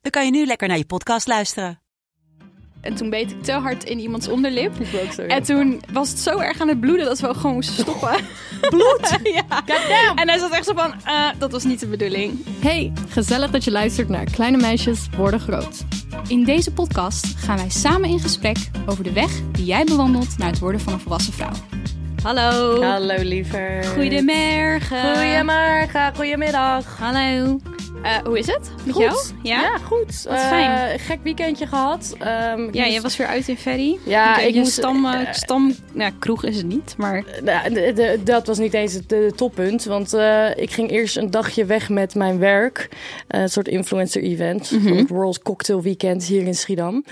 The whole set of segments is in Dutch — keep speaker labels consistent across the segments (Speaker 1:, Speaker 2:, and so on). Speaker 1: dan kan je nu lekker naar je podcast luisteren.
Speaker 2: En toen beet ik te hard in iemands onderlip. En toen was het zo erg aan het bloeden dat we ook gewoon moesten stoppen. Bloed? Oh. ja. En hij zat echt zo van, eh, dat was niet de bedoeling.
Speaker 3: Hey, gezellig dat je luistert naar Kleine Meisjes Worden Groot.
Speaker 4: In deze podcast gaan wij samen in gesprek over de weg die jij bewandelt naar het worden van een volwassen vrouw. Hallo.
Speaker 5: Hallo liever.
Speaker 4: Goedemorgen.
Speaker 5: Goedemorgen, goedemiddag.
Speaker 4: Hallo.
Speaker 2: Eh, hoe is het met
Speaker 5: Goed.
Speaker 2: jou?
Speaker 5: Ja, goed.
Speaker 4: Wat
Speaker 5: Eh,
Speaker 4: fijn.
Speaker 5: Gek weekendje gehad. Ehm, ik
Speaker 2: Ja,
Speaker 5: moest-
Speaker 2: je was weer uit in Ferry.
Speaker 5: Ja,
Speaker 2: Oké,
Speaker 5: ik
Speaker 2: je
Speaker 5: moest-
Speaker 2: Stam, eh,
Speaker 5: eh,
Speaker 2: stam, nou, kroeg is het niet, maar...
Speaker 5: Nou, de- de- dat was niet eens het de- toppunt, want eh, ik ging eerst een dagje weg met mijn werk. Eh, een soort influencer-event,
Speaker 2: Mhm.
Speaker 5: voor het World Cocktail Weekend hier in Schiedam.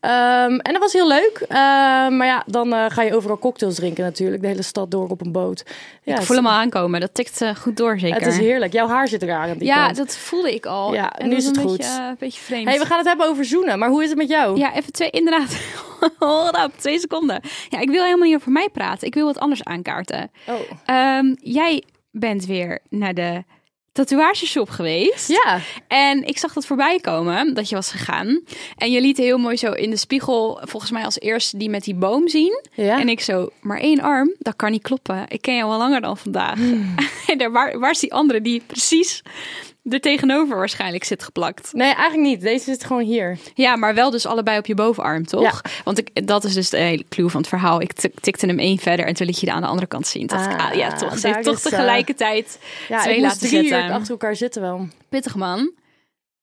Speaker 5: Ehm, en dat was heel leuk, Ehm, maar ja, dan eh, ga je overal cocktails drinken natuurlijk. De hele stad door op een boot. Ja,
Speaker 2: ik voel hem al aankomen. Dat tikt eh, goed door, zeker.
Speaker 5: Het is heerlijk. Jouw haar zit raar aan die
Speaker 2: Ja,
Speaker 5: kant.
Speaker 2: dat voelde ik al.
Speaker 5: Ja,
Speaker 2: En
Speaker 5: nu
Speaker 2: dat
Speaker 5: is het
Speaker 2: een
Speaker 5: goed.
Speaker 2: Beetje, eh, een beetje vreemd.
Speaker 5: hey, we gaan het hebben over zoenen, maar hoe is het met jou?
Speaker 2: Ja, even twee, inderdaad. Hold up, twee seconden. Ja, ik wil helemaal niet over mij praten. Ik wil wat anders aankaarten.
Speaker 5: Oh.
Speaker 2: Ehm, jij bent weer naar de tatoeageshop geweest.
Speaker 5: Ja.
Speaker 2: En ik zag dat voorbij komen, dat je was gegaan. En je liet heel mooi zo in de spiegel, volgens mij als eerste die met die boom zien.
Speaker 5: Ja.
Speaker 2: En ik zo, maar één arm, dat kan niet kloppen. Ik ken jou al langer dan vandaag.
Speaker 5: Hmm.
Speaker 2: En daar, waar, waar is die andere die precies er tegenover waarschijnlijk zit geplakt?
Speaker 5: Nee, eigenlijk niet. Deze zit gewoon hier.
Speaker 2: Ja, maar wel dus allebei op je bovenarm, toch? Want ik, dat is dus de hele clue van het verhaal. Ik tik- tikte hem één verder en toen liet je de aan de andere kant zien. Toen dacht ik,
Speaker 5: Ah,
Speaker 2: ah, ja, toch. Ze
Speaker 5: daar
Speaker 2: heeft toch
Speaker 5: is, eh,
Speaker 2: tegelijkertijd
Speaker 5: Ja,
Speaker 2: twee
Speaker 5: ik moest
Speaker 2: laten
Speaker 5: drie uur
Speaker 2: zitten.
Speaker 5: achter elkaar zitten wel.
Speaker 2: Pittig man.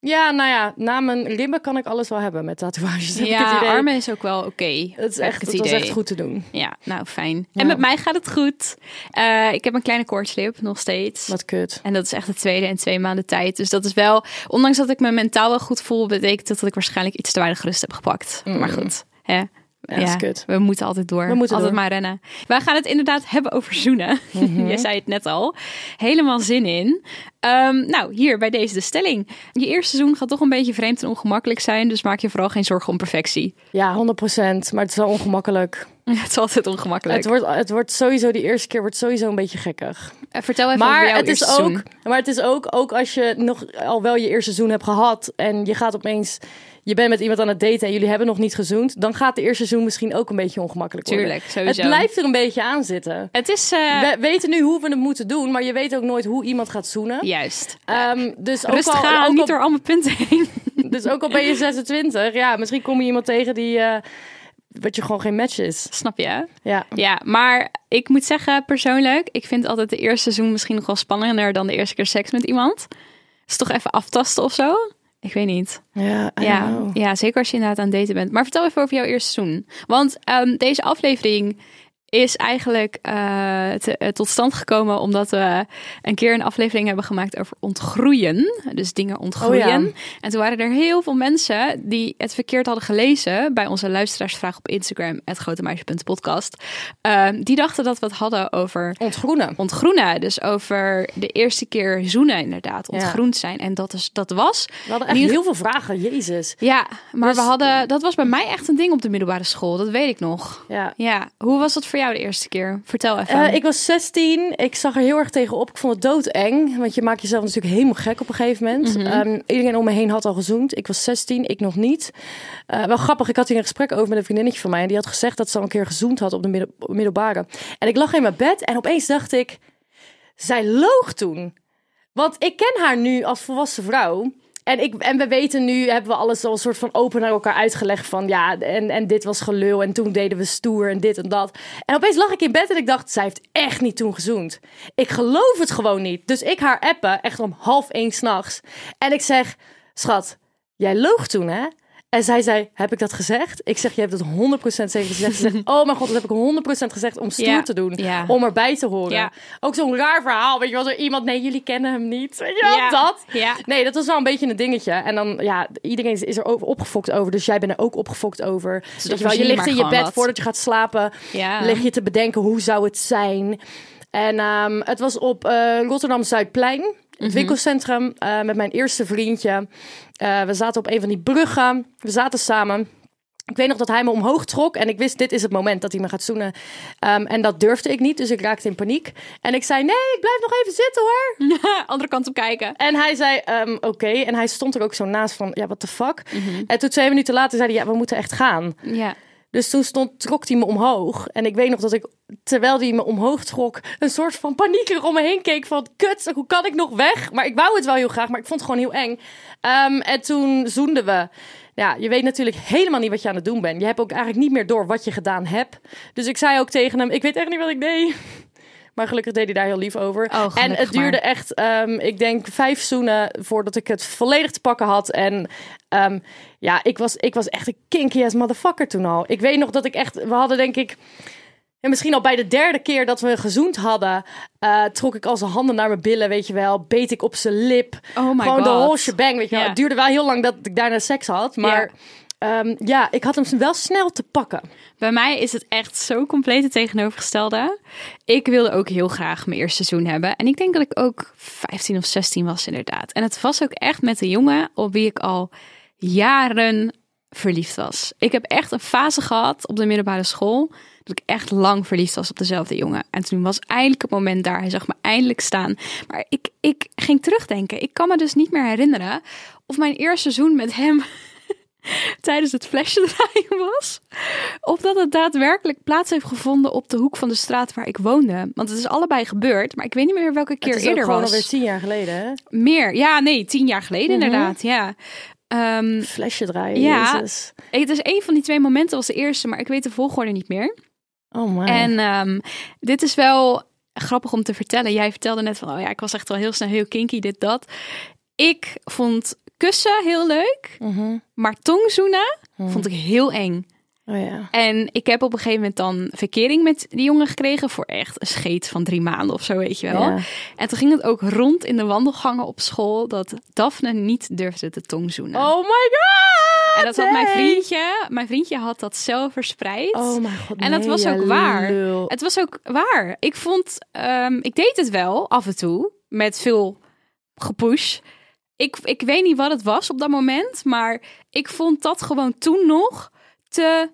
Speaker 5: Ja, nou ja, na mijn ribben kan ik alles wel hebben met tatoeages. heb ik
Speaker 2: ja,
Speaker 5: het idee.
Speaker 2: armen is ook wel oké.
Speaker 5: Het, is
Speaker 2: heb
Speaker 5: echt,
Speaker 2: ik het
Speaker 5: het was
Speaker 2: idee.
Speaker 5: echt goed te doen.
Speaker 2: Ja, nou fijn.
Speaker 5: Ja.
Speaker 2: En met mij gaat het goed. Eh, ik heb een kleine koortslip nog steeds.
Speaker 5: Wat kut.
Speaker 2: En dat is echt de tweede en twee maanden tijd. Dus dat is wel, ondanks dat ik me mentaal wel goed voel, betekent dat dat ik waarschijnlijk iets te weinig rust heb gepakt. Maar goed, hè.
Speaker 5: dat Mm. is kut.
Speaker 2: we moeten altijd door.
Speaker 5: We moeten
Speaker 2: altijd
Speaker 5: door. Mhm.
Speaker 2: maar rennen. Wij gaan het inderdaad hebben over zoenen. Jij zei het net al. Helemaal zin in. Ehm, nou, hier bij deze de stelling. Je eerste seizoen gaat toch een beetje vreemd en ongemakkelijk zijn. Dus maak je vooral geen zorgen om perfectie.
Speaker 5: Ja, 100%. Maar het is wel ongemakkelijk.
Speaker 2: het is altijd ongemakkelijk.
Speaker 5: Het wordt, het wordt sowieso, die eerste keer wordt sowieso een beetje gekkig.
Speaker 2: Eh, Vertel even over
Speaker 5: Maar
Speaker 2: jouw
Speaker 5: het,
Speaker 2: eerste
Speaker 5: is ook,
Speaker 2: seizoen.
Speaker 5: maar het is ook, ook als je nog al wel je eerste seizoen hebt gehad en je gaat opeens, je bent met iemand aan het daten en jullie hebben nog niet gezoend, dan gaat de eerste seizoen misschien ook een beetje ongemakkelijk worden.
Speaker 2: Tuurlijk, sowieso.
Speaker 5: Het blijft er een beetje aan zitten.
Speaker 2: Het is... eh,
Speaker 5: We weten nu hoe we het moeten doen, maar je weet ook nooit hoe iemand gaat zoenen.
Speaker 2: Juist.
Speaker 5: Ehm, dus, ook
Speaker 2: Rustig
Speaker 5: al,
Speaker 2: aan,
Speaker 5: ook
Speaker 2: niet
Speaker 5: al-
Speaker 2: door allemaal punten heen.
Speaker 5: dus ook al ben je 26, ja, misschien kom je iemand tegen die. eh, wat je gewoon geen match is.
Speaker 2: Snap je? hè?
Speaker 5: Ja.
Speaker 2: Ja, maar ik moet zeggen, persoonlijk, ik vind altijd de eerste seizoen misschien nog wel spannender dan de eerste keer seks met iemand. Is toch even aftasten of zo? Ik weet niet.
Speaker 5: Ja, I don't
Speaker 2: Ja,
Speaker 5: know.
Speaker 2: ja, zeker als je inderdaad aan het daten bent. Maar vertel even over jouw eerste seizoen. Want ehm, deze aflevering is eigenlijk eh, te- eh, tot stand gekomen omdat we een keer een aflevering hebben gemaakt over ontgroeien. Dus dingen ontgroeien.
Speaker 5: Oh ja.
Speaker 2: En toen waren er heel veel mensen die het verkeerd hadden gelezen bij onze luisteraarsvraag op Instagram, het ehm, die dachten dat we het hadden over
Speaker 5: Ontgroenen.
Speaker 2: ontgroenen. Dus over de eerste keer zoenen inderdaad,
Speaker 5: Ja.
Speaker 2: ontgroend zijn. En dat, is, dat was
Speaker 5: We hadden echt
Speaker 2: In ieder-
Speaker 5: heel veel vragen, jezus.
Speaker 2: ja, maar
Speaker 5: Dus-
Speaker 2: we hadden, dat was bij mij echt een ding op de middelbare school. Dat weet ik nog.
Speaker 5: Ja.
Speaker 2: Ja, hoe was dat voor jou de eerste keer? Vertel even.
Speaker 5: Eh, ik was 16, ik zag er heel erg tegen op. Ik vond het doodeng, want je maakt jezelf natuurlijk helemaal gek op een gegeven moment. Ehm, iedereen om me heen had al gezoend. Ik was 16, ik nog niet. Eh, wel grappig, ik had hier een gesprek over met een vriendinnetje van mij. En die had gezegd dat ze al een keer gezoend had op de middel- middelbare. En ik lag in mijn bed en opeens dacht ik, zij loog toen. Want ik ken haar nu als volwassen vrouw. En, ik, en we weten nu, hebben we alles al een soort van open naar elkaar uitgelegd. Van ja, en, en dit was gelul. En toen deden we stoer en dit en dat. En opeens lag ik in bed en ik dacht, zij heeft echt niet toen gezoend. Ik geloof het gewoon niet. Dus ik haar appen, echt om half één s'nachts. En ik zeg, schat, jij loog toen hè? En zij zei, heb ik dat gezegd? Ik zeg, je hebt dat 100% zeker gezegd. Ze zegt, oh mijn god, dat heb ik 100% gezegd om stoer
Speaker 2: Ja.
Speaker 5: te doen.
Speaker 2: Ja.
Speaker 5: Om erbij te horen.
Speaker 2: Ja.
Speaker 5: Ook zo'n raar verhaal. Weet je wel, zo iemand, nee, jullie kennen hem niet. Weet je wel,
Speaker 2: Ja.
Speaker 5: dat.
Speaker 2: Ja.
Speaker 5: Nee, dat was wel een beetje een dingetje. En dan, ja, iedereen is- is er ook opgefokt over. Dus jij bent er ook opgefokt over.
Speaker 2: dat
Speaker 5: Dus je, wel, je
Speaker 2: verzin je
Speaker 5: ligt in
Speaker 2: maar gewoon
Speaker 5: je bed
Speaker 2: wat.
Speaker 5: voordat je gaat slapen.
Speaker 2: Ja.
Speaker 5: Lig je te bedenken, hoe zou het zijn? En ehm, het was op eh, Rotterdam-Zuidplein. Het winkelcentrum eh, met mijn eerste vriendje. Eh, we zaten op een van die bruggen. We zaten samen. Ik weet nog dat hij me omhoog trok en ik wist, dit is het moment dat hij me gaat zoenen. Ehm, en dat durfde ik niet, dus ik raakte in paniek. En ik zei, nee, ik blijf nog even zitten hoor.
Speaker 2: Andere kant op kijken.
Speaker 5: En hij zei, ehm, oké. En hij stond er ook zo naast van, ja, what the fuck. En toen twee minuten later zei hij, ja, we moeten echt gaan.
Speaker 2: Ja.
Speaker 5: Dus toen stond, trok hij me omhoog. En ik weet nog dat ik, terwijl hij me omhoog trok, een soort van paniek er om me heen keek. Van, kut, hoe kan ik nog weg? Maar ik wou het wel heel graag, maar ik vond het gewoon heel eng. Ehm, en toen zoenden we. Ja, je weet natuurlijk helemaal niet wat je aan het doen bent. Je hebt ook eigenlijk niet meer door wat je gedaan hebt. Dus ik zei ook tegen hem, ik weet echt niet wat ik deed. Maar gelukkig deed hij daar heel lief over.
Speaker 2: Oh, gelukkig
Speaker 5: en het duurde
Speaker 2: maar.
Speaker 5: echt, ehm, ik denk, vijf zoenen voordat ik het volledig te pakken had. En ehm, ja, ik was, ik was echt een kinky ass motherfucker toen al. Ik weet nog dat ik echt, we hadden denk ik, en misschien al bij de derde keer dat we gezoend hadden, eh, trok ik al zijn handen naar mijn billen, weet je wel. Beet ik op zijn lip.
Speaker 2: Oh my
Speaker 5: Gewoon de
Speaker 2: God.
Speaker 5: whole shebang, weet je wel.
Speaker 2: Ja.
Speaker 5: Het duurde wel heel lang dat ik daarna seks had, maar... ehm, ja, ik had hem wel snel te pakken.
Speaker 2: Bij mij is het echt zo compleet het tegenovergestelde. Ik wilde ook heel graag mijn eerste seizoen hebben. En ik denk dat ik ook 15 of 16 was inderdaad. En het was ook echt met een jongen op wie ik al jaren verliefd was. Ik heb echt een fase gehad op de middelbare school... dat ik echt lang verliefd was op dezelfde jongen. En toen was eindelijk het moment daar. Hij zag me eindelijk staan. Maar ik, ik ging terugdenken. Ik kan me dus niet meer herinneren... of mijn eerste seizoen met hem tijdens het flesje draaien was. Of dat het daadwerkelijk plaats heeft gevonden op de hoek van de straat waar ik woonde. Want het is allebei gebeurd, maar ik weet niet meer welke keer
Speaker 5: het is ook
Speaker 2: eerder
Speaker 5: gewoon
Speaker 2: was.
Speaker 5: alweer Mhm. tien jaar geleden, hè?
Speaker 2: Meer, ja, nee, tien jaar geleden inderdaad, ja. Ehm,
Speaker 5: Flesje draaien,
Speaker 2: Ja.
Speaker 5: jezus.
Speaker 2: het is een van die twee momenten was de eerste, maar ik weet de volgorde niet meer.
Speaker 5: Oh man.
Speaker 2: En ehm, dit is wel grappig om te vertellen. Jij vertelde net van, oh ja, ik was echt wel heel snel heel kinky, dit, dat. Ik vond kussen heel leuk,
Speaker 5: Mhm.
Speaker 2: maar tongzoenen vond ik heel eng.
Speaker 5: Oh ja.
Speaker 2: En ik heb op een gegeven moment dan verkering met die jongen gekregen. Voor echt een scheet van drie maanden of zo, weet je wel.
Speaker 5: Ja.
Speaker 2: En toen ging het ook rond in de wandelgangen op school. dat Daphne niet durfde de tong zoenen.
Speaker 5: Oh my god!
Speaker 2: en dat had mijn
Speaker 5: nee.
Speaker 2: vriendje. Mijn vriendje had dat zelf verspreid.
Speaker 5: Oh mijn god.
Speaker 2: en dat
Speaker 5: nee,
Speaker 2: was
Speaker 5: jij
Speaker 2: ook waar.
Speaker 5: lul.
Speaker 2: Het was ook waar. Ik vond, ehm, ik deed het wel af en toe. Met veel gepush. Ik, ik weet niet wat het was op dat moment. Maar ik vond dat gewoon toen nog te.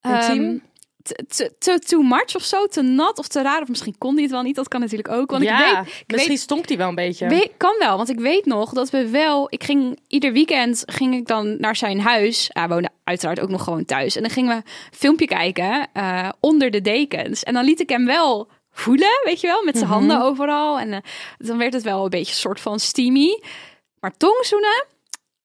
Speaker 2: ehm,
Speaker 5: Intiem?
Speaker 2: te, te, te too much of zo, te nat of te raar. Of misschien kon hij het wel niet. Dat kan natuurlijk ook. Want
Speaker 5: ja,
Speaker 2: ik weet, ik
Speaker 5: misschien
Speaker 2: weet
Speaker 5: stonk die wel een beetje.
Speaker 2: Weet- kan wel, want ik weet nog dat we wel. Ik ging ieder weekend ging ik dan naar zijn huis. Hij woonde uiteraard ook nog gewoon thuis. En dan gingen we een filmpje kijken eh, onder de dekens. En dan liet ik hem wel voelen, weet je wel, met
Speaker 5: Mhm.
Speaker 2: zijn handen overal. En eh, dan werd het wel een beetje een soort van steamy. Maar tongzoenen,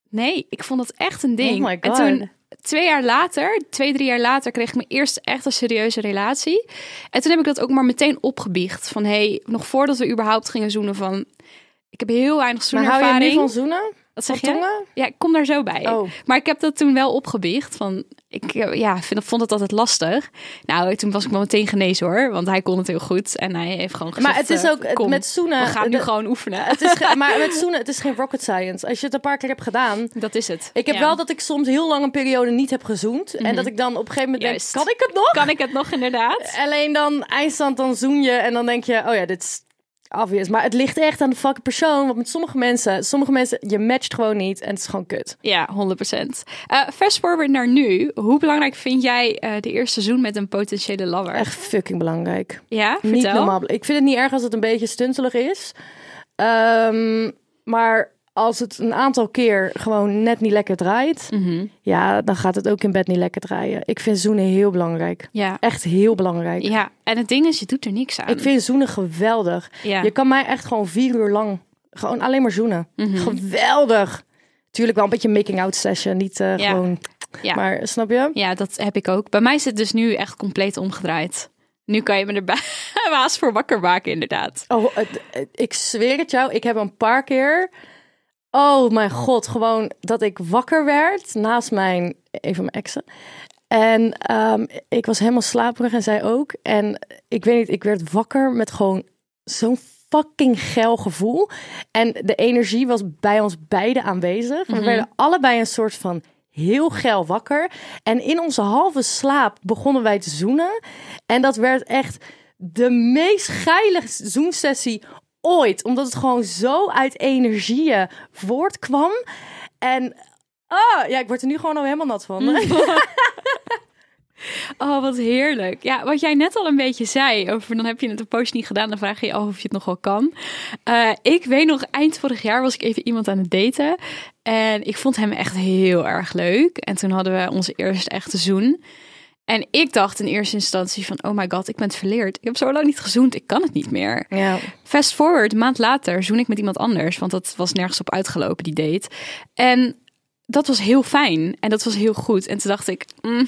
Speaker 2: nee, ik vond dat echt een ding.
Speaker 5: Oh my
Speaker 2: En
Speaker 5: God.
Speaker 2: toen twee jaar later, twee, drie jaar later, kreeg ik mijn eerste echte serieuze relatie. En toen heb ik dat ook maar meteen opgebiecht. Van hé, hey, nog voordat we überhaupt gingen zoenen van... Ik heb heel weinig
Speaker 5: maar hou
Speaker 2: zoenervaring.
Speaker 5: je nu van zoenen?
Speaker 2: Wat
Speaker 5: Van
Speaker 2: zeg je?
Speaker 5: tongen?
Speaker 2: Ja, ik kom daar zo bij.
Speaker 5: Oh.
Speaker 2: Maar ik heb dat toen wel opgebiecht. Van, ik eh, ja, vind, vond het altijd lastig. Nou, toen was ik wel meteen genezen hoor. Want hij kon het heel goed. En hij heeft gewoon gezegd...
Speaker 5: Maar het is
Speaker 2: eh,
Speaker 5: ook het-
Speaker 2: kom,
Speaker 5: met zoenen.
Speaker 2: We gaan nu
Speaker 5: de-
Speaker 2: gewoon oefenen.
Speaker 5: Het is ge- maar met zoenen, het is geen rocket science. Als je het een paar keer hebt gedaan.
Speaker 2: Dat is het.
Speaker 5: Ik heb
Speaker 2: Ja. Mhm.
Speaker 5: wel dat ik soms heel lang een periode niet heb gezoend. En dat ik dan op een gegeven moment
Speaker 2: Juist.
Speaker 5: denk, kan ik het nog?
Speaker 2: Kan ik het nog inderdaad?
Speaker 5: Alleen dan eindstand, dan zoen je en dan denk je, oh ja, dit is obvious. Maar het ligt echt aan de fucking persoon. Want met sommige mensen, sommige mensen, je matcht gewoon niet en het is gewoon kut.
Speaker 2: Ja, 100%. Eh fast forward naar nu. Hoe belangrijk vind jij eh, de eerste seizoen met een potentiële lover?
Speaker 5: Echt fucking belangrijk.
Speaker 2: Ja, vertel.
Speaker 5: Niet normaal. Ik vind het niet erg als het een beetje stuntelig is. Ehm, maar als het een aantal keer gewoon net niet lekker draait,
Speaker 2: Mhm.
Speaker 5: ja, dan gaat het ook in bed niet lekker draaien. Ik vind zoenen heel belangrijk.
Speaker 2: Ja.
Speaker 5: Echt heel belangrijk.
Speaker 2: Ja, en het ding is, je doet er niks aan.
Speaker 5: Ik vind zoenen geweldig.
Speaker 2: Ja.
Speaker 5: Je kan mij echt gewoon vier uur lang gewoon alleen maar zoenen.
Speaker 2: Mhm.
Speaker 5: Geweldig. Tuurlijk wel een beetje making-out session, niet eh,
Speaker 2: Ja.
Speaker 5: gewoon.
Speaker 2: Ja.
Speaker 5: Maar snap je?
Speaker 2: Ja, dat heb ik ook. Bij mij is het dus nu echt compleet omgedraaid. Nu kan je me er ba- waas voor wakker maken, inderdaad.
Speaker 5: Oh, het- het- ik zweer het jou, ik heb een paar keer Oh mijn god, gewoon dat ik wakker werd naast mijn, een van mijn exen. En ehm, ik was helemaal slaperig en zij ook. En ik weet niet, ik werd wakker met gewoon zo'n fucking geil gevoel. En de energie was bij ons beiden aanwezig. We werden allebei een soort van heel geil wakker. En in onze halve slaap begonnen wij te zoenen. En dat werd echt de meest geile zoensessie ooit. Omdat het gewoon zo uit energieën voortkwam. En oh, ja, ik word er nu gewoon al helemaal nat van.
Speaker 2: Oh, wat heerlijk. Ja, wat jij net al een beetje zei over dan heb je het een post niet gedaan, dan vraag je je af of je het nog wel kan. Eh, ik weet nog, eind vorig jaar was ik even iemand aan het daten en ik vond hem echt heel erg leuk. En toen hadden we onze eerste echte zoen. En ik dacht in eerste instantie van, oh my god, ik ben het verleerd. Ik heb zo lang niet gezoend, ik kan het niet meer.
Speaker 5: Ja.
Speaker 2: Fast forward, een maand later zoen ik met iemand anders, want dat was nergens op uitgelopen, die date. En dat was heel fijn en dat was heel goed. En toen dacht ik, mm,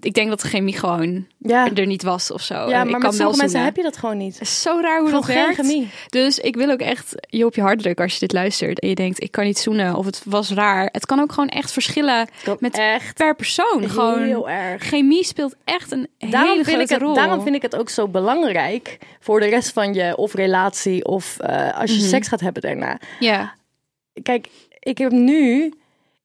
Speaker 2: ik denk dat de chemie gewoon
Speaker 5: Ja,
Speaker 2: er niet was of zo.
Speaker 5: ja
Speaker 2: En Oh, ik
Speaker 5: maar
Speaker 2: kan
Speaker 5: met
Speaker 2: wel
Speaker 5: sommige mensen
Speaker 2: zoenen.
Speaker 5: heb je dat gewoon niet.
Speaker 2: Het is zo raar hoe
Speaker 5: Gewoon
Speaker 2: dat
Speaker 5: geen
Speaker 2: werkt.
Speaker 5: chemie.
Speaker 2: Dus ik wil ook echt je op je hart drukken als je dit luistert en je denkt, ik kan niet zoenen of het was raar. Het kan ook gewoon echt verschillen met
Speaker 5: echt
Speaker 2: per persoon. Gewoon
Speaker 5: heel erg.
Speaker 2: chemie speelt echt een
Speaker 5: Daarom
Speaker 2: hele
Speaker 5: vind, ik
Speaker 2: grote
Speaker 5: het,
Speaker 2: rol.
Speaker 5: daarom vind ik het ook zo belangrijk voor de rest van je of relatie of eh, als je
Speaker 2: Mhm.
Speaker 5: seks gaat hebben daarna.
Speaker 2: Ja,
Speaker 5: Kijk, ik heb nu,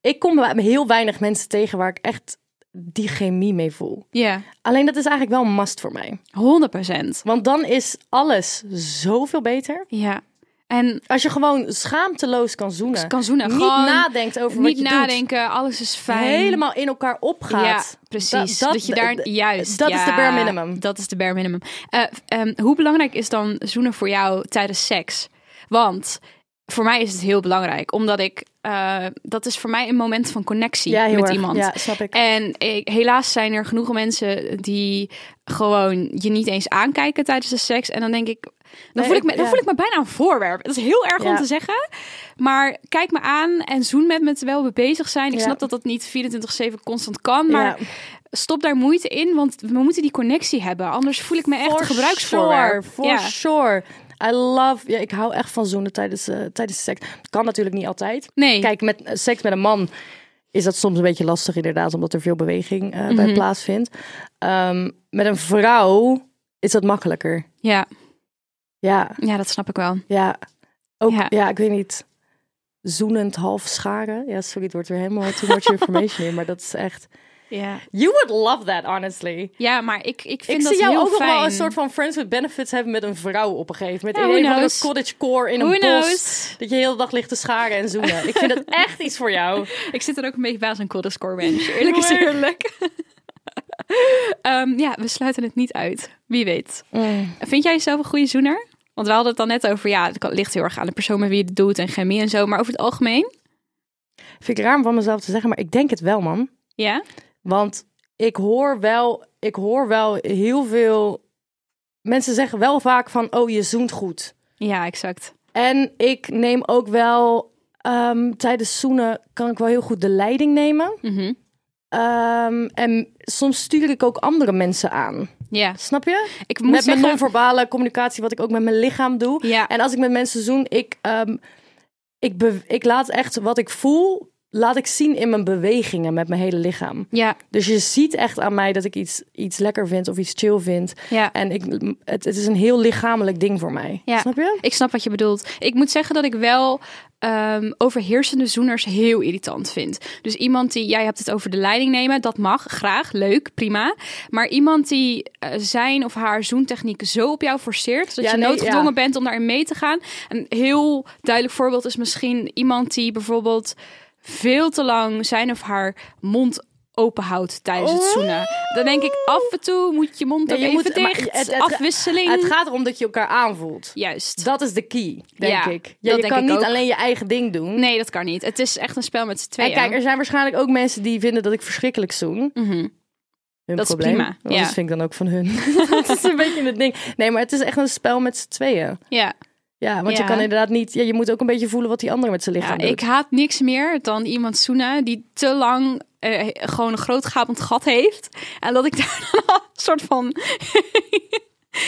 Speaker 5: ik kom bij heel weinig mensen tegen waar ik echt die chemie mee voel.
Speaker 2: ja,
Speaker 5: Alleen dat is eigenlijk wel een must voor mij.
Speaker 2: 100 procent.
Speaker 5: Want dan is alles zoveel beter.
Speaker 2: Ja. En
Speaker 5: Als je gewoon schaamteloos kan zoenen.
Speaker 2: kan zoenen.
Speaker 5: niet
Speaker 2: gewoon
Speaker 5: nadenkt over
Speaker 2: niet
Speaker 5: wat je doet.
Speaker 2: nadenken, alles is fijn.
Speaker 5: Helemaal in elkaar opgaat.
Speaker 2: Ja, precies.
Speaker 5: Da-
Speaker 2: dat, je daar juist.
Speaker 5: Dat is de
Speaker 2: ja,
Speaker 5: bare minimum.
Speaker 2: Dat is de bare minimum. Eh, f- ehm, hoe belangrijk is dan zoenen voor jou tijdens seks? Want voor mij is het heel belangrijk, omdat ik eh, dat is voor mij een moment van connectie
Speaker 5: Ja, heel
Speaker 2: met
Speaker 5: erg.
Speaker 2: iemand.
Speaker 5: Ja, snap ik.
Speaker 2: En ik, helaas zijn er genoeg mensen die gewoon je niet eens aankijken tijdens de seks. En dan denk ik, dan, voel, ik
Speaker 5: ik-
Speaker 2: me, dan
Speaker 5: ja.
Speaker 2: voel ik me bijna een voorwerp. Dat is heel erg om
Speaker 5: Ja.
Speaker 2: te zeggen. Maar kijk me aan en zoen met me terwijl we bezig zijn. Ik
Speaker 5: Ja.
Speaker 2: snap dat dat niet 24-7 constant kan. Maar
Speaker 5: Ja.
Speaker 2: stop daar moeite in, want we moeten die connectie hebben. Anders voel ik me echt
Speaker 5: For
Speaker 2: een gebruiksvoorwerp.
Speaker 5: Sure, for
Speaker 2: ja.
Speaker 5: sure. I love... Ja, ik hou echt van zoenen tijdens, eh, tijdens seks. Kan natuurlijk niet altijd.
Speaker 2: Nee.
Speaker 5: Kijk, met eh, seks met een man is dat soms een beetje lastig inderdaad. Omdat er veel beweging eh,
Speaker 2: Mhm.
Speaker 5: bij plaatsvindt. Ehm, met een vrouw is dat makkelijker.
Speaker 2: Ja.
Speaker 5: Ja,
Speaker 2: ja, dat snap ik wel.
Speaker 5: ja. Ook,
Speaker 2: Ja.
Speaker 5: ja. ik weet niet. Zoenend half scharen. Ja, sorry, het wordt weer helemaal too much information in. Maar dat is echt...
Speaker 2: Ja,
Speaker 5: You would love that, honestly.
Speaker 2: ja maar ik, ik vind
Speaker 5: Ik
Speaker 2: dat
Speaker 5: zie jou
Speaker 2: heel
Speaker 5: ook nog
Speaker 2: fijn.
Speaker 5: wel een soort van friends with benefits hebben met een vrouw op een gegeven moment.
Speaker 2: Ja,
Speaker 5: In
Speaker 2: who
Speaker 5: een of andere
Speaker 2: knows?
Speaker 5: cottage core in
Speaker 2: Who
Speaker 5: een
Speaker 2: knows?
Speaker 5: bos. Dat je de hele dag ligt te scharen en zoenen. Ik vind dat echt iets voor jou.
Speaker 2: Ik zit er ook een beetje bij als een cold score bench. Eerlijk is eerlijk. Ehm, ja, we sluiten het niet uit. Wie weet. Vind jij jezelf een goede zoener? Want we hadden het dan net over, ja, het kan- ligt heel erg aan de persoon met wie je het doet en chemie en zo. Maar over het algemeen,
Speaker 5: Vind ik raar om van mezelf te zeggen, maar ik denk het wel, man.
Speaker 2: ja.
Speaker 5: Want ik hoor wel, ik hoor wel heel veel... Mensen zeggen wel vaak van, oh, je zoent goed.
Speaker 2: Ja, exact.
Speaker 5: En ik neem ook wel... ehm, tijdens zoenen kan ik wel heel goed de leiding nemen.
Speaker 2: Mhm.
Speaker 5: Ehm, en soms stuur ik ook andere mensen aan.
Speaker 2: Ja,
Speaker 5: Snap je?
Speaker 2: ik moet
Speaker 5: met mijn
Speaker 2: zeggen...
Speaker 5: non-verbale communicatie, wat ik ook met mijn lichaam doe.
Speaker 2: Ja.
Speaker 5: En als ik met mensen zoen, ik, ehm, ik, be- ik laat echt wat ik voel, laat ik zien in mijn bewegingen met mijn hele lichaam.
Speaker 2: Ja,
Speaker 5: Dus je ziet echt aan mij dat ik iets, iets lekker vind of iets chill vind.
Speaker 2: ja.
Speaker 5: En ik, het, het is een heel lichamelijk ding voor mij.
Speaker 2: Ja.
Speaker 5: Snap je?
Speaker 2: Ik snap wat je bedoelt. Ik moet zeggen dat ik wel ehm, overheersende zoeners heel irritant vind. Dus iemand die, jij hebt het over de leiding nemen, dat mag, graag, leuk, prima. Maar iemand die eh, zijn of haar zoentechniek zo op jou forceert, dat
Speaker 5: Ja,
Speaker 2: je
Speaker 5: nee,
Speaker 2: noodgedwongen
Speaker 5: ja.
Speaker 2: bent om daarin mee te gaan. Een heel duidelijk voorbeeld is misschien iemand die bijvoorbeeld veel te lang zijn of haar mond openhoudt tijdens het zoenen. Dan denk ik, af en toe moet je mond
Speaker 5: Ja,
Speaker 2: ook
Speaker 5: je
Speaker 2: even
Speaker 5: moet- maar
Speaker 2: dicht.
Speaker 5: het- het-
Speaker 2: afwisseling.
Speaker 5: Het gaat erom dat je elkaar aanvoelt.
Speaker 2: Juist.
Speaker 5: Dat is de key, denk
Speaker 2: Ja,
Speaker 5: ik.
Speaker 2: dat
Speaker 5: Ja, je
Speaker 2: denk
Speaker 5: kan
Speaker 2: ik
Speaker 5: niet
Speaker 2: ook.
Speaker 5: alleen je eigen ding doen.
Speaker 2: Nee, dat kan niet. Het is echt een spel met z'n
Speaker 5: En
Speaker 2: tweeën.
Speaker 5: kijk, er zijn waarschijnlijk ook mensen die vinden dat ik verschrikkelijk zoen.
Speaker 2: Mhm.
Speaker 5: Hun
Speaker 2: Dat is
Speaker 5: probleem.
Speaker 2: prima,
Speaker 5: Want
Speaker 2: ja.
Speaker 5: Dat vind ik dan ook van hun. dat is een beetje het ding. Nee, maar het is echt een spel met z'n tweeën.
Speaker 2: Ja,
Speaker 5: Ja, want
Speaker 2: Ja.
Speaker 5: je kan inderdaad niet... Ja, je moet ook een beetje voelen wat die ander met zijn
Speaker 2: ja
Speaker 5: lichaam doet.
Speaker 2: ik haat niks meer dan iemand zoenen die te lang eh, gewoon een groot gapend gat heeft. En dat ik daar dan een soort van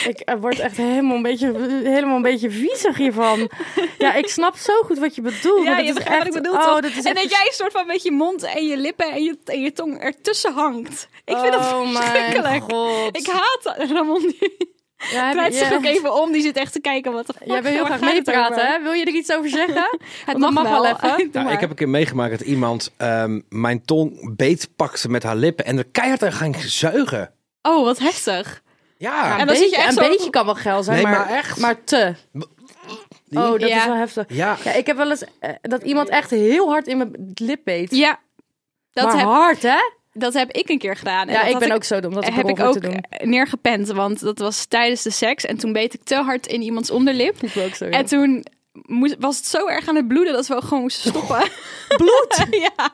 Speaker 5: Ik eh, word echt helemaal een beetje, helemaal een beetje viezig hiervan. Ja, ik snap zo goed wat je bedoelt. maar
Speaker 2: Ja,
Speaker 5: dat
Speaker 2: je
Speaker 5: is
Speaker 2: begrijpt
Speaker 5: echt,
Speaker 2: wat ik bedoel,
Speaker 5: oh,
Speaker 2: toch?
Speaker 5: Dat is
Speaker 2: en
Speaker 5: echt
Speaker 2: dat jij een soort van met je mond en je lippen en je, en je tong ertussen hangt. Ik vind dat
Speaker 5: Oh mijn
Speaker 2: verschrikkelijk.
Speaker 5: god.
Speaker 2: Ik haat dat. Ramon, die
Speaker 5: Ja, heb-
Speaker 2: draait zich
Speaker 5: ja.
Speaker 2: ook even om. Die zit echt te kijken wat de fuck.
Speaker 5: Jij wil heel
Speaker 2: waar
Speaker 5: graag
Speaker 2: gaat het over?
Speaker 5: meepraten, hè? Wil je er iets over zeggen?
Speaker 2: Het
Speaker 5: Want dat mag wel even.
Speaker 2: Doe maar.
Speaker 6: Nou, ik heb een keer meegemaakt dat iemand ehm, mijn tong beetpakte met haar lippen en er keihard aan ging zuigen.
Speaker 2: Oh, wat heftig.
Speaker 6: Ja,
Speaker 2: En dan zit je echt
Speaker 5: een
Speaker 2: zo-
Speaker 5: beetje kan wel geil zijn,
Speaker 6: Nee,
Speaker 5: maar,
Speaker 6: maar echt.
Speaker 5: maar te.
Speaker 6: Die?
Speaker 5: Oh, dat
Speaker 2: Ja.
Speaker 5: is wel heftig.
Speaker 6: ja.
Speaker 5: Ja, ik heb wel eens eh, dat iemand echt heel hard in mijn lip beet.
Speaker 2: Ja, dat,
Speaker 5: maar
Speaker 2: heb,
Speaker 5: hard, hè?
Speaker 2: dat heb ik een keer gedaan. En
Speaker 5: Ja,
Speaker 2: dat
Speaker 5: ik
Speaker 2: had
Speaker 5: ben ook zo dom dat
Speaker 2: heb ik
Speaker 5: te
Speaker 2: ook
Speaker 5: doen.
Speaker 2: eh, neergepend, want dat was tijdens de seks. En toen beet ik te hard in iemands onderlip.
Speaker 5: Ik ben ook zo.
Speaker 2: En toen moest, was het zo erg aan het bloeden dat we ook gewoon moesten stoppen. Bloed? ja.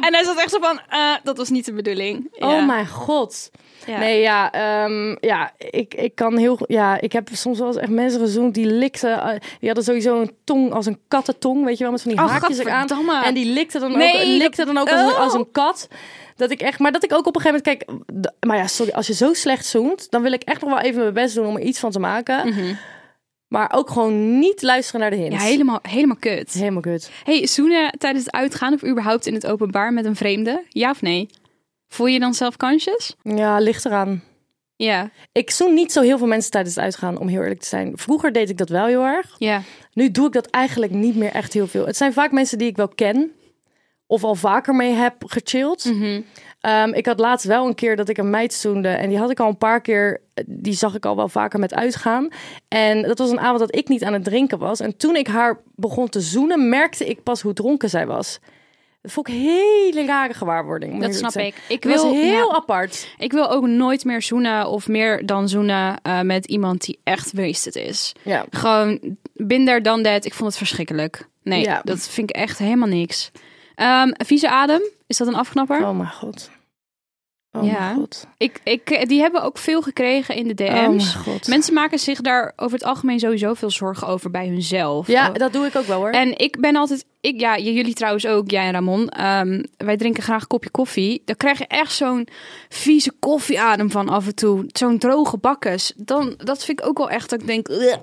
Speaker 2: En hij zat echt zo van, eh, dat was niet de bedoeling.
Speaker 5: ja.
Speaker 2: Ja.
Speaker 5: Oh mijn god.
Speaker 2: Ja.
Speaker 5: Nee, ja, ehm, ja ik, ik kan heel... go- Ja, ik heb soms wel eens echt mensen gezoend die likten... eh, die hadden sowieso een tong als een kattentong, weet je wel, met van die
Speaker 2: Oh,
Speaker 5: haakjes eraan.
Speaker 2: gadverdamme.
Speaker 5: En die likte dan ook,
Speaker 2: Nee,
Speaker 5: likte dan ook als,
Speaker 2: oh.
Speaker 5: als een kat. Dat ik echt, maar dat ik ook op een gegeven moment kijk, d- maar ja, sorry, als je zo slecht zoent, dan wil ik echt nog wel even mijn best doen om er iets van te maken. Maar ook gewoon niet luisteren naar de hints.
Speaker 2: Mhm. Ja, helemaal, helemaal kut.
Speaker 5: Helemaal kut.
Speaker 2: Hey, zoenen tijdens het uitgaan of überhaupt in het openbaar met een vreemde? Ja of nee? Voel je je dan self-conscious?
Speaker 5: Ja, ligt eraan.
Speaker 2: Ja.
Speaker 5: Ik zoen niet zo heel veel mensen tijdens het uitgaan, om heel eerlijk te zijn. Vroeger deed ik dat wel heel erg.
Speaker 2: Ja.
Speaker 5: Nu doe ik dat eigenlijk niet meer echt heel veel. Het zijn vaak mensen die ik wel ken. Of al vaker mee heb gechilled.
Speaker 2: Mhm.
Speaker 5: Ehm, ik had laatst wel een keer dat ik een meid zoende. En die had ik al een paar keer. Die zag ik al wel vaker met uitgaan. En dat was een avond dat ik niet aan het drinken was. En toen ik haar begon te zoenen, merkte ik pas hoe dronken zij was. Dat vond ik een hele rare gewaarwording. moet
Speaker 2: Dat
Speaker 5: eerlijk
Speaker 2: snap
Speaker 5: zijn.
Speaker 2: ik. Ik
Speaker 5: Het was
Speaker 2: wil-
Speaker 5: heel
Speaker 2: ja.
Speaker 5: apart.
Speaker 2: Ik wil ook nooit meer zoenen of meer dan zoenen eh, met iemand die echt wasted is.
Speaker 5: Ja.
Speaker 2: Gewoon binder dan dat. Ik vond het verschrikkelijk. Nee,
Speaker 5: Ja.
Speaker 2: dat vind ik echt helemaal niks. Ehm vieze adem, is dat een afknapper?
Speaker 5: Oh mijn god. Oh
Speaker 2: Ja.
Speaker 5: mijn god.
Speaker 2: Ik, ik, die hebben ook veel gekregen in de
Speaker 5: Oh mijn
Speaker 2: DM's.
Speaker 5: god.
Speaker 2: Mensen maken zich daar over het algemeen sowieso veel zorgen over bij hunzelf.
Speaker 5: Ja,
Speaker 2: Oh.
Speaker 5: dat doe ik ook wel hoor.
Speaker 2: En ik ben altijd, ik, ja, j- jullie trouwens ook, jij en Ramon. ehm, wij drinken graag een kopje koffie. Dan krijg je echt zo'n vieze koffieadem van af en toe. Zo'n droge bakkes. Dan, dat vind ik ook wel echt dat ik denk. "Ugh."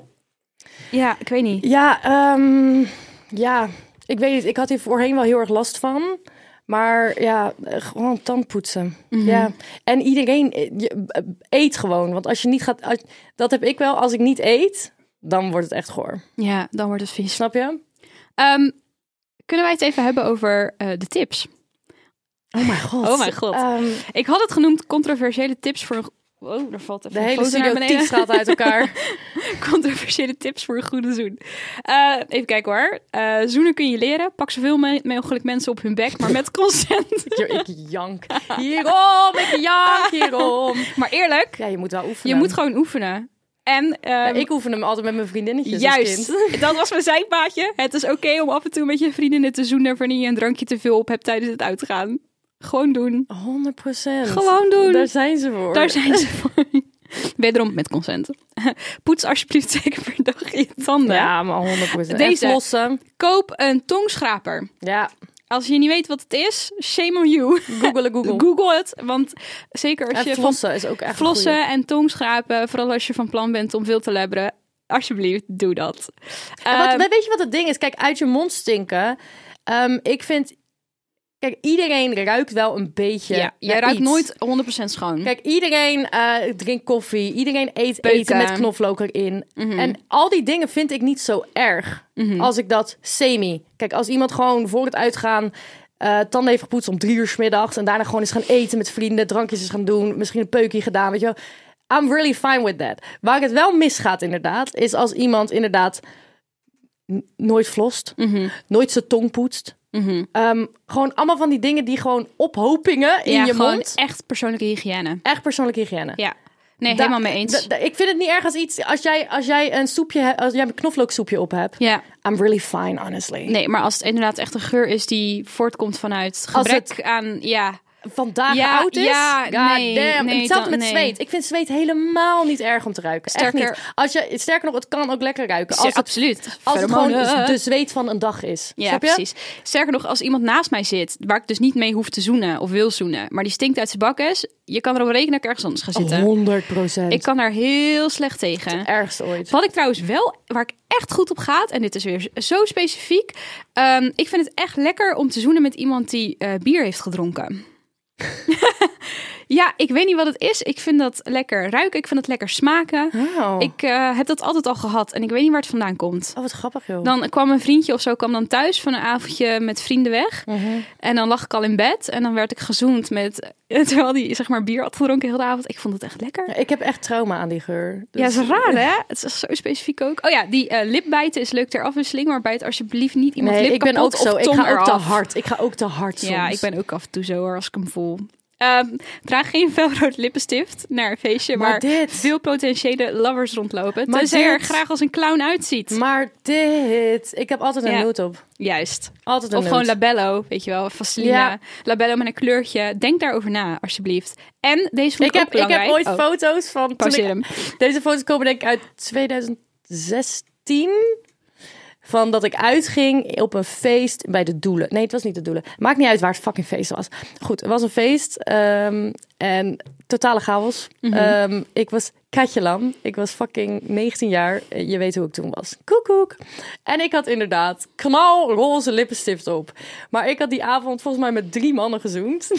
Speaker 2: Ja, ik weet niet.
Speaker 5: Ja, ehm, ja, ik weet het. Ik had hier voorheen wel heel erg last van. Maar ja, eh, gewoon tandpoetsen. Ja. En iedereen eh, je, eh, eet gewoon. Want als je niet gaat. als- dat heb ik wel. Als ik niet eet, dan wordt het echt goor.
Speaker 2: Ja, dan wordt het vies.
Speaker 5: Snap je?
Speaker 2: Ehm, kunnen wij het even hebben over eh, de tips?
Speaker 5: Oh mijn god.
Speaker 2: Oh mijn god.
Speaker 5: Ehm,
Speaker 2: Ik had het genoemd controversiële tips voor een. Oh, er valt even
Speaker 5: de
Speaker 2: een
Speaker 5: hele
Speaker 2: foto naar
Speaker 5: studio
Speaker 2: beneden.
Speaker 5: tief gaat uit elkaar.
Speaker 2: controversiële tips voor een goede zoen. Eh, even kijken hoor. Eh, zoenen kun je leren. Pak zoveel me- mogelijk mensen op hun bek, maar met consent.
Speaker 5: Yo, ik jank. Hierom, ik jank hierom.
Speaker 2: maar eerlijk,
Speaker 5: Ja, je moet wel oefenen.
Speaker 2: je moet gewoon oefenen. En
Speaker 5: Ja,
Speaker 2: ehm,
Speaker 5: ik oefen hem altijd met mijn vriendinnetjes. als
Speaker 2: juist,
Speaker 5: kind.
Speaker 2: dat was mijn zijpaadje. Het is oké om af en toe met je vriendinnen te zoenen wanneer je een drankje te veel op hebt tijdens het uitgaan. Gewoon doen.
Speaker 5: 100%.
Speaker 2: Gewoon doen.
Speaker 5: Daar zijn ze voor.
Speaker 2: Daar zijn ze voor. Wederom met consent. Poets alsjeblieft zeker per dag je tanden.
Speaker 5: Ja, maar 100%.
Speaker 2: Deze.
Speaker 5: Echt lossen.
Speaker 2: Koop een tongschraper.
Speaker 5: Ja,
Speaker 2: Als je niet weet wat het is, shame on you.
Speaker 5: googelen, Google.
Speaker 2: Google het, want zeker als
Speaker 5: en
Speaker 2: je
Speaker 5: flossen is ook echt
Speaker 2: van flossen en tongschrapen, vooral als je van plan bent om veel te lebberen, alsjeblieft doe dat.
Speaker 5: En wat,
Speaker 2: Ehm,
Speaker 5: weet je wat het ding is? Kijk, uit je mond stinken. Ehm, ik vind... Kijk, iedereen ruikt wel een beetje
Speaker 2: ja, jij
Speaker 5: naar
Speaker 2: ruikt
Speaker 5: iets.
Speaker 2: nooit 100% schoon.
Speaker 5: Kijk, iedereen eh, drinkt koffie. Iedereen eet
Speaker 2: Peuken. Mhm.
Speaker 5: eten met knoflook erin. En al die dingen vind ik niet zo erg. Als ik dat semi... Kijk, als iemand gewoon voor het uitgaan... eh tanden heeft gepoetst om drie uur 's middags en daarna gewoon is gaan eten met vrienden, drankjes is gaan doen, misschien een peukje gedaan, weet je wel. I'm really fine with that. Waar het wel misgaat inderdaad, is als iemand inderdaad n- nooit flost,
Speaker 2: Mhm.
Speaker 5: nooit zijn tong poetst. Ehm, gewoon allemaal van die dingen die gewoon ophopingen in
Speaker 2: ja,
Speaker 5: je
Speaker 2: gewoon
Speaker 5: mond.
Speaker 2: echt persoonlijke hygiëne.
Speaker 5: Echt persoonlijke hygiëne.
Speaker 2: Ja, nee,
Speaker 5: Da-
Speaker 2: helemaal mee eens.
Speaker 5: da- da- ik vind het niet erg als iets. Als jij, als jij een soepje hebt, als jij een knoflooksoepje op hebt.
Speaker 2: ja,
Speaker 5: I'm really fine, honestly.
Speaker 2: nee, maar als het inderdaad echt een geur is die voortkomt vanuit gebrek
Speaker 5: het-
Speaker 2: aan, ja,
Speaker 5: vandaag
Speaker 2: Ja,
Speaker 5: oud is.
Speaker 2: ja,
Speaker 5: God
Speaker 2: nee,
Speaker 5: damn.
Speaker 2: nee,
Speaker 5: Hetzelfde
Speaker 2: dan-
Speaker 5: met
Speaker 2: nee.
Speaker 5: zweet. Ik vind zweet helemaal niet erg om te ruiken.
Speaker 2: Sterker-
Speaker 5: Echt niet. Als je, sterker nog, het kan ook lekker ruiken. Als het,
Speaker 2: absoluut.
Speaker 5: als het gewoon
Speaker 2: Pheromonen.
Speaker 5: de zweet van een dag is.
Speaker 2: Ja,
Speaker 5: Snap je?
Speaker 2: precies. Sterker nog, als iemand naast mij zit, waar ik dus niet mee hoef te zoenen of wil zoenen, maar die stinkt uit zijn bakkes, je kan erop rekenen dat ik ergens anders ga zitten.
Speaker 5: 100 procent.
Speaker 2: Ik kan daar heel slecht tegen.
Speaker 5: Ergst ooit.
Speaker 2: Wat ik trouwens wel, waar ik echt goed op ga, en dit is weer zo specifiek. ehm, ik vind het echt lekker om te zoenen met iemand die eh, bier heeft gedronken. ja, ik weet niet wat het is. Ik vind dat lekker ruiken. Ik vind het lekker smaken.
Speaker 5: Wauw.
Speaker 2: Ik eh, heb dat altijd al gehad en ik weet niet waar het vandaan komt.
Speaker 5: Oh, wat grappig joh.
Speaker 2: Dan kwam een vriendje of zo kwam dan thuis van een avondje met vrienden weg.
Speaker 5: Mhm.
Speaker 2: En dan lag ik al in bed en dan werd ik gezoend met... Terwijl die zeg maar bier had gedronken heel de avond. Ik vond het echt lekker.
Speaker 5: Ik heb echt trauma aan die geur.
Speaker 2: Ja,
Speaker 5: Dus-
Speaker 2: dat is raar hè? Het is echt zo specifiek ook. Oh ja, die eh, lipbijten is leuk ter afwisseling. Maar bijt alsjeblieft niet iemand
Speaker 5: Nee,
Speaker 2: lip
Speaker 5: ik ben ook
Speaker 2: kapot
Speaker 5: zo.
Speaker 2: of
Speaker 5: Ik
Speaker 2: tong
Speaker 5: ga ook te
Speaker 2: eraf.
Speaker 5: hard. Ik ga ook te hard soms.
Speaker 2: Ja, ik ben ook af en toe zo hoor, als ik hem voel. Ehm, draag geen felrood lippenstift naar een feestje
Speaker 5: Maar
Speaker 2: waar
Speaker 5: dit-
Speaker 2: veel potentiële lovers rondlopen.
Speaker 5: Maar
Speaker 2: tenzij je er
Speaker 5: dit-
Speaker 2: graag als een clown uitziet.
Speaker 5: Maar dit... Ik heb altijd een
Speaker 2: Ja.
Speaker 5: noot op.
Speaker 2: Juist.
Speaker 5: Altijd een
Speaker 2: Of gewoon
Speaker 5: noot.
Speaker 2: labello, weet je wel, vaseline.
Speaker 5: Ja.
Speaker 2: Labello met een kleurtje. Denk daarover na, alsjeblieft. En deze vond
Speaker 5: Ik
Speaker 2: ik, ook
Speaker 5: heb, ik
Speaker 2: belangrijk.
Speaker 5: heb ooit
Speaker 2: Oh,
Speaker 5: foto's van... Toen
Speaker 2: pauzeer
Speaker 5: ik,
Speaker 2: hem.
Speaker 5: Deze foto's komen denk ik uit 2016. Van dat ik uitging op een feest bij de Doelen. Nee, het was niet de Doelen. Maakt niet uit waar het fucking feest was. Goed, het was een feest. ehm, en totale chaos.
Speaker 2: Mhm.
Speaker 5: Ehm, ik was Katje Lam. Ik was fucking 19 jaar. Eh, Je weet hoe ik toen was. Koekoek. En ik had inderdaad knalroze lippenstift op. Maar ik had die avond volgens mij met drie mannen gezoend.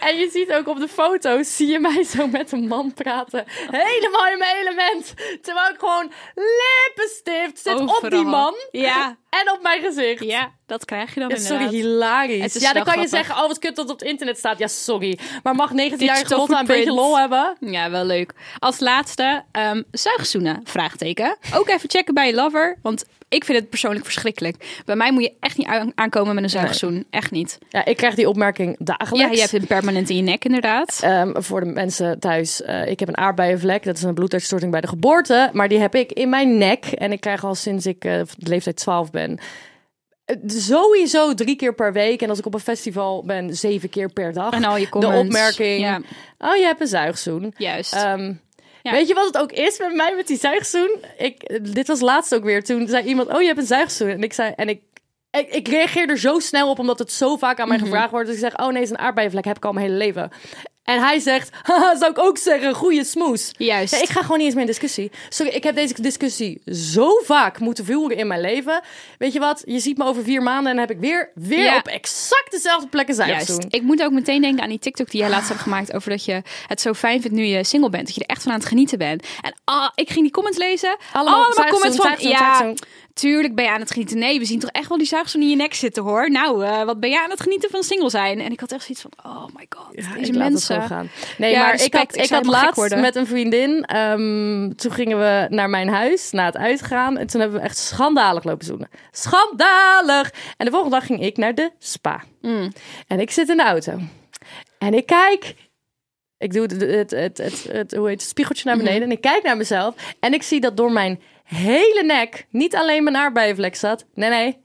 Speaker 5: En je ziet ook op de foto's, zie je mij zo met een man praten. Helemaal in mijn element. Terwijl ik gewoon lippenstift zit op die
Speaker 2: Overal.
Speaker 5: man
Speaker 2: Ja,
Speaker 5: en op mijn gezicht.
Speaker 2: ja, dat krijg je dan
Speaker 5: Ja, sorry,
Speaker 2: inderdaad.
Speaker 5: hilarisch.
Speaker 2: Het is
Speaker 5: Ja, dan
Speaker 2: wel
Speaker 5: kan je
Speaker 2: grappig.
Speaker 5: zeggen, oh wat kut dat het op het internet staat. Ja, sorry. Maar mag 19-jarige
Speaker 2: Digital
Speaker 5: Lotta een beetje
Speaker 2: footprint.
Speaker 5: lol hebben?
Speaker 2: Ja, wel leuk. Als laatste, ehm zuigzoenen, vraagteken. Ook even checken bij je lover, want ik vind het persoonlijk verschrikkelijk. Bij mij moet je echt niet aan- aankomen met een zuigzoen. Echt niet.
Speaker 5: Ja, ik krijg die opmerking dagelijks.
Speaker 2: Ja, je hebt het permanent in je nek inderdaad.
Speaker 5: Ehm, voor de mensen thuis, eh, ik heb een aardbeienvlek. Dat is een bloeduitstorting bij de geboorte. Maar die heb ik in mijn nek. En ik krijg al sinds ik eh, de leeftijd 12 ben. eh, Sowieso drie keer per week. En als ik op een festival ben, zeven keer per dag.
Speaker 2: En al je
Speaker 5: de
Speaker 2: comments.
Speaker 5: opmerking:
Speaker 2: Ja,
Speaker 5: Oh, je hebt een zuigzoen.
Speaker 2: juist.
Speaker 5: Ehm,
Speaker 2: Ja.
Speaker 5: Weet je wat het ook is met mij met die zuigzoen? Ik, dit was laatst ook weer. Toen zei iemand: Oh, je hebt een zuigzoen. En ik zei: En ik, ik, ik reageer er zo snel op, omdat het zo vaak aan
Speaker 2: Mhm.
Speaker 5: mij gevraagd wordt. Dus ik zeg: Oh nee, het is een aardbeienvlek. Heb ik al mijn hele leven. En hij zegt: Haha, zou ik ook zeggen, goede smoes.
Speaker 2: Juist.
Speaker 5: Ja, ik ga gewoon niet eens meer in discussie. Sorry, ik heb deze discussie zo vaak moeten voeren in mijn leven. Weet je wat? Je ziet me over vier maanden en dan heb ik weer, weer
Speaker 2: Ja.
Speaker 5: op exact dezelfde plek een zuigzoen.
Speaker 2: Juist. Ik moet ook meteen denken aan die TikTok die jij laatst hebt gemaakt over dat je het zo fijn vindt nu je single bent, dat je er echt van aan het genieten bent. En ah, ik ging die comments lezen.
Speaker 5: Allemaal
Speaker 2: Allemaal,
Speaker 5: zuigzoen,
Speaker 2: Oh, comments van
Speaker 5: zuigzoen,
Speaker 2: ja,
Speaker 5: zuigzoen.
Speaker 2: tuurlijk ben je aan het genieten. Nee, we zien toch echt wel die zuigzoen in je nek zitten, hoor. Nou, eh, wat ben jij aan het genieten van single zijn? En ik had echt zoiets van, oh my god, deze
Speaker 5: ik laat het
Speaker 2: mensen.
Speaker 5: gewoon gaan. Nee,
Speaker 2: Ja,
Speaker 5: maar
Speaker 2: respect.
Speaker 5: ik had,
Speaker 2: Ik
Speaker 5: ik
Speaker 2: zou
Speaker 5: had
Speaker 2: helemaal gek
Speaker 5: laatst
Speaker 2: worden.
Speaker 5: met een vriendin. ehm, toen gingen we naar mijn huis na het uitgaan. En toen hebben we echt schandalig lopen zoenen. Schandalig! En de volgende dag ging ik naar de spa. En ik zit in de auto. En ik kijk. Ik doe het, het, het, het, het- hoe heet het spiegeltje naar beneden. En ik kijk naar mezelf. En ik zie dat door mijn hele nek niet alleen mijn aardbeienvlek zat. Nee, nee.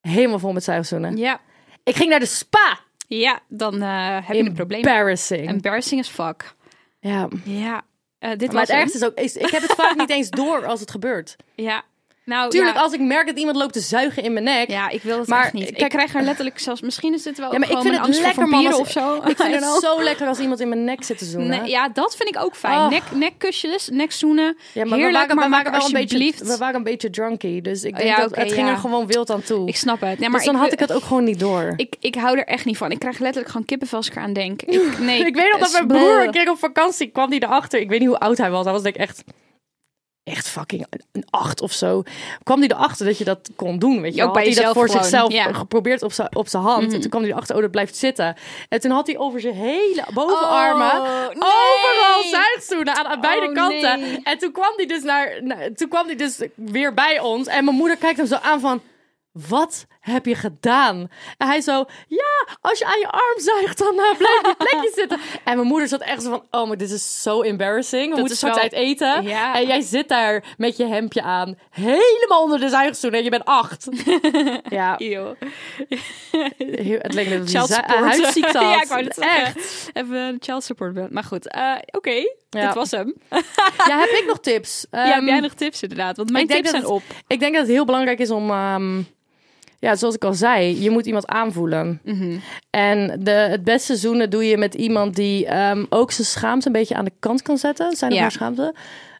Speaker 5: Helemaal vol met zuigzoenen.
Speaker 2: Ja,
Speaker 5: Ik ging naar de spa.
Speaker 2: ja, dan eh, heb je een probleem.
Speaker 5: Embarrassing.
Speaker 2: Embarrassing as fuck.
Speaker 5: ja.
Speaker 2: Ja. Eh, dit
Speaker 5: Maar
Speaker 2: was
Speaker 5: het
Speaker 2: hem.
Speaker 5: ergste is ook, is, ik heb het vaak niet eens door als het gebeurt.
Speaker 2: Ja. Nou,
Speaker 5: Tuurlijk,
Speaker 2: ja.
Speaker 5: als ik merk dat iemand loopt te zuigen in mijn nek.
Speaker 2: Ja, ik wil het
Speaker 5: Maar,
Speaker 2: echt niet. ik
Speaker 5: kijk-
Speaker 2: krijg er letterlijk zelfs... Misschien is dit wel
Speaker 5: Ja, maar ik
Speaker 2: gewoon
Speaker 5: vind
Speaker 2: mijn
Speaker 5: het
Speaker 2: angst
Speaker 5: lekker,
Speaker 2: voor
Speaker 5: man.
Speaker 2: vampieren
Speaker 5: als-
Speaker 2: of zo.
Speaker 5: Ik vind
Speaker 2: I don't
Speaker 5: het
Speaker 2: know.
Speaker 5: zo lekker als iemand in mijn nek zit te zoenen.
Speaker 2: Nee, ja, dat vind ik ook fijn.
Speaker 5: Oh.
Speaker 2: Nek, nekkusjes, nekzoenen.
Speaker 5: Ja,
Speaker 2: maar Heerlijk,
Speaker 5: we waren,
Speaker 2: maar maak
Speaker 5: we waren
Speaker 2: er
Speaker 5: wel een beetje,
Speaker 2: alsjeblieft...
Speaker 5: we waren een beetje drunky. Dus ik
Speaker 2: Oh,
Speaker 5: denk
Speaker 2: ja,
Speaker 5: dat
Speaker 2: oké,
Speaker 5: het ging
Speaker 2: ja.
Speaker 5: er gewoon wild aan toe.
Speaker 2: Ik snap het. Nee, maar
Speaker 5: maar dus dan
Speaker 2: ik,
Speaker 5: had ik het ook gewoon niet door.
Speaker 2: Ik, ik hou er echt niet van. Ik krijg letterlijk gewoon kippenvel als ik eraan denk. Ik, nee, Eh,
Speaker 5: Ik weet nog dat
Speaker 2: het
Speaker 5: mijn
Speaker 2: is-
Speaker 5: broer een keer op vakantie kwam die erachter. Ik weet niet hoe oud hij was. Hij was denk ik echt, echt fucking een- een acht of zo. Kwam hij erachter dat je dat kon doen, weet je
Speaker 2: Ook
Speaker 5: wel? Had
Speaker 2: bij
Speaker 5: hij dat
Speaker 2: jezelf
Speaker 5: voor
Speaker 2: gewoon,
Speaker 5: zichzelf
Speaker 2: ja. Mm-hmm.
Speaker 5: geprobeerd op zijn op zijn hand. En toen kwam hij erachter, oh dat blijft zitten. En toen had hij over zijn hele bovenarmen
Speaker 2: Oh, nee.
Speaker 5: overal zuigzoenen aan, aan beide
Speaker 2: Oh,
Speaker 5: kanten.
Speaker 2: nee.
Speaker 5: En toen kwam hij dus naar, naar- toen kwam hij dus weer bij ons. En mijn moeder kijkt hem zo aan van... Wat heb je gedaan? En hij zo, ja, als je aan je arm zuigt, dan eh, blijf je plekje zitten. En mijn moeder zat echt zo van, oh, maar dit is zo embarrassing. We moeten
Speaker 2: is
Speaker 5: zo
Speaker 2: wel-
Speaker 5: tijd eten.
Speaker 2: Ja.
Speaker 5: En jij zit daar met je hemdje aan, helemaal onder de zuigstoel en je bent acht. ja,
Speaker 2: Eeuw.
Speaker 5: heel, het leek net dat hij
Speaker 2: Child
Speaker 5: za-
Speaker 2: support.
Speaker 5: huidziekte had.
Speaker 2: ja, ik wou het
Speaker 5: Echt.
Speaker 2: echt. Even een child support. bellen. Maar goed, eh, oké.
Speaker 5: Ja.
Speaker 2: Dit was hem.
Speaker 5: Ja, heb ik nog tips?
Speaker 2: ja, heb
Speaker 5: Ehm,
Speaker 2: jij nog tips inderdaad? Want mijn
Speaker 5: ik denk
Speaker 2: tips zijn
Speaker 5: dat
Speaker 2: op.
Speaker 5: Ik denk dat het heel belangrijk is om... ehm, ja, zoals ik al zei, je moet iemand aanvoelen. En de, het beste zoenen doe je met iemand die ehm, ook zijn schaamte een beetje aan de kant kan zetten. Zijn er
Speaker 2: Ja.
Speaker 5: maar schaamte?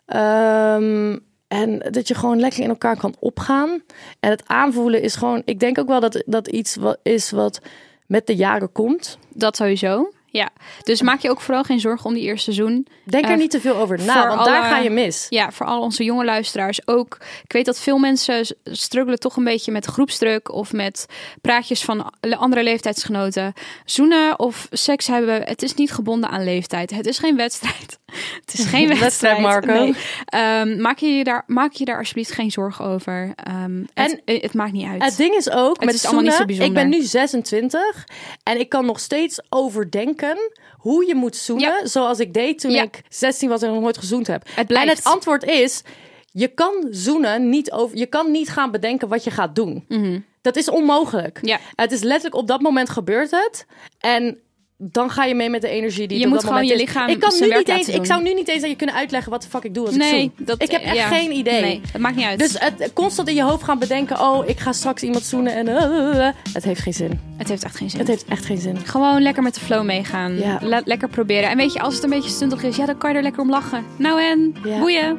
Speaker 5: Ehm, en dat je gewoon lekker in elkaar kan opgaan. En het aanvoelen is gewoon... Ik denk ook wel dat dat iets wat is wat met de jaren komt.
Speaker 2: Dat sowieso. Ja. Dus maak je ook vooral geen zorgen om die eerste seizoen.
Speaker 5: Denk er
Speaker 2: Eh,
Speaker 5: niet te veel over na,
Speaker 2: voor
Speaker 5: want daar
Speaker 2: alle-
Speaker 5: ga je mis.
Speaker 2: Ja, voor al onze jonge luisteraars ook. Ik weet dat veel mensen s- struggelen toch een beetje met groepsdruk of met praatjes van le- andere leeftijdsgenoten. Zoenen of seks hebben, het is niet gebonden aan leeftijd. Het is geen wedstrijd. Het is geen wedstrijd,
Speaker 5: Wedstrijd, Marco.
Speaker 2: Nee. Ehm, maak, je je daar, maak je daar alsjeblieft geen zorgen over. Ehm, het, het, maakt niet uit.
Speaker 5: Het ding is ook, met
Speaker 2: is allemaal niet
Speaker 5: zoenen,
Speaker 2: zo bijzonder.
Speaker 5: ik ben nu 26 en ik kan nog steeds overdenken hoe je moet zoenen zoals ik deed toen
Speaker 2: Ja.
Speaker 5: ik 16 was en nog nooit gezoend heb.
Speaker 2: blijft.
Speaker 5: En het antwoord is, je kan zoenen niet over, je kan niet gaan bedenken wat je gaat doen. Dat is onmogelijk.
Speaker 2: Mhm. Ja.
Speaker 5: Het is letterlijk op dat moment gebeurt het en dan ga je mee met de energie die
Speaker 2: Je
Speaker 5: het op
Speaker 2: moet
Speaker 5: dat
Speaker 2: gewoon
Speaker 5: moment
Speaker 2: je
Speaker 5: is.
Speaker 2: lichaam
Speaker 5: Ik kan
Speaker 2: zijn
Speaker 5: nu
Speaker 2: werk
Speaker 5: niet
Speaker 2: laten
Speaker 5: eens, ik
Speaker 2: doen.
Speaker 5: zou nu niet eens aan je kunnen uitleggen wat de fuck ik doe als ik
Speaker 2: nee,
Speaker 5: zoen.
Speaker 2: dat, eh,
Speaker 5: ik heb echt
Speaker 2: ja.
Speaker 5: geen idee.
Speaker 2: Nee, het maakt niet uit.
Speaker 5: Dus het constant in je hoofd gaan bedenken: oh, ik ga straks iemand zoenen en. eh, het heeft geen zin.
Speaker 2: het heeft echt geen zin.
Speaker 5: Het heeft echt geen zin.
Speaker 2: Gewoon lekker met de flow meegaan.
Speaker 5: Ja.
Speaker 2: Laat lekker proberen. En weet je, als het een beetje stuntig is, ja, dan kan je er lekker om lachen. Nou en,
Speaker 5: Ja.
Speaker 2: boeien.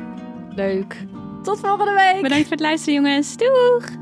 Speaker 2: Leuk.
Speaker 5: Tot volgende week!
Speaker 2: Bedankt voor het luisteren, jongens. Doeg!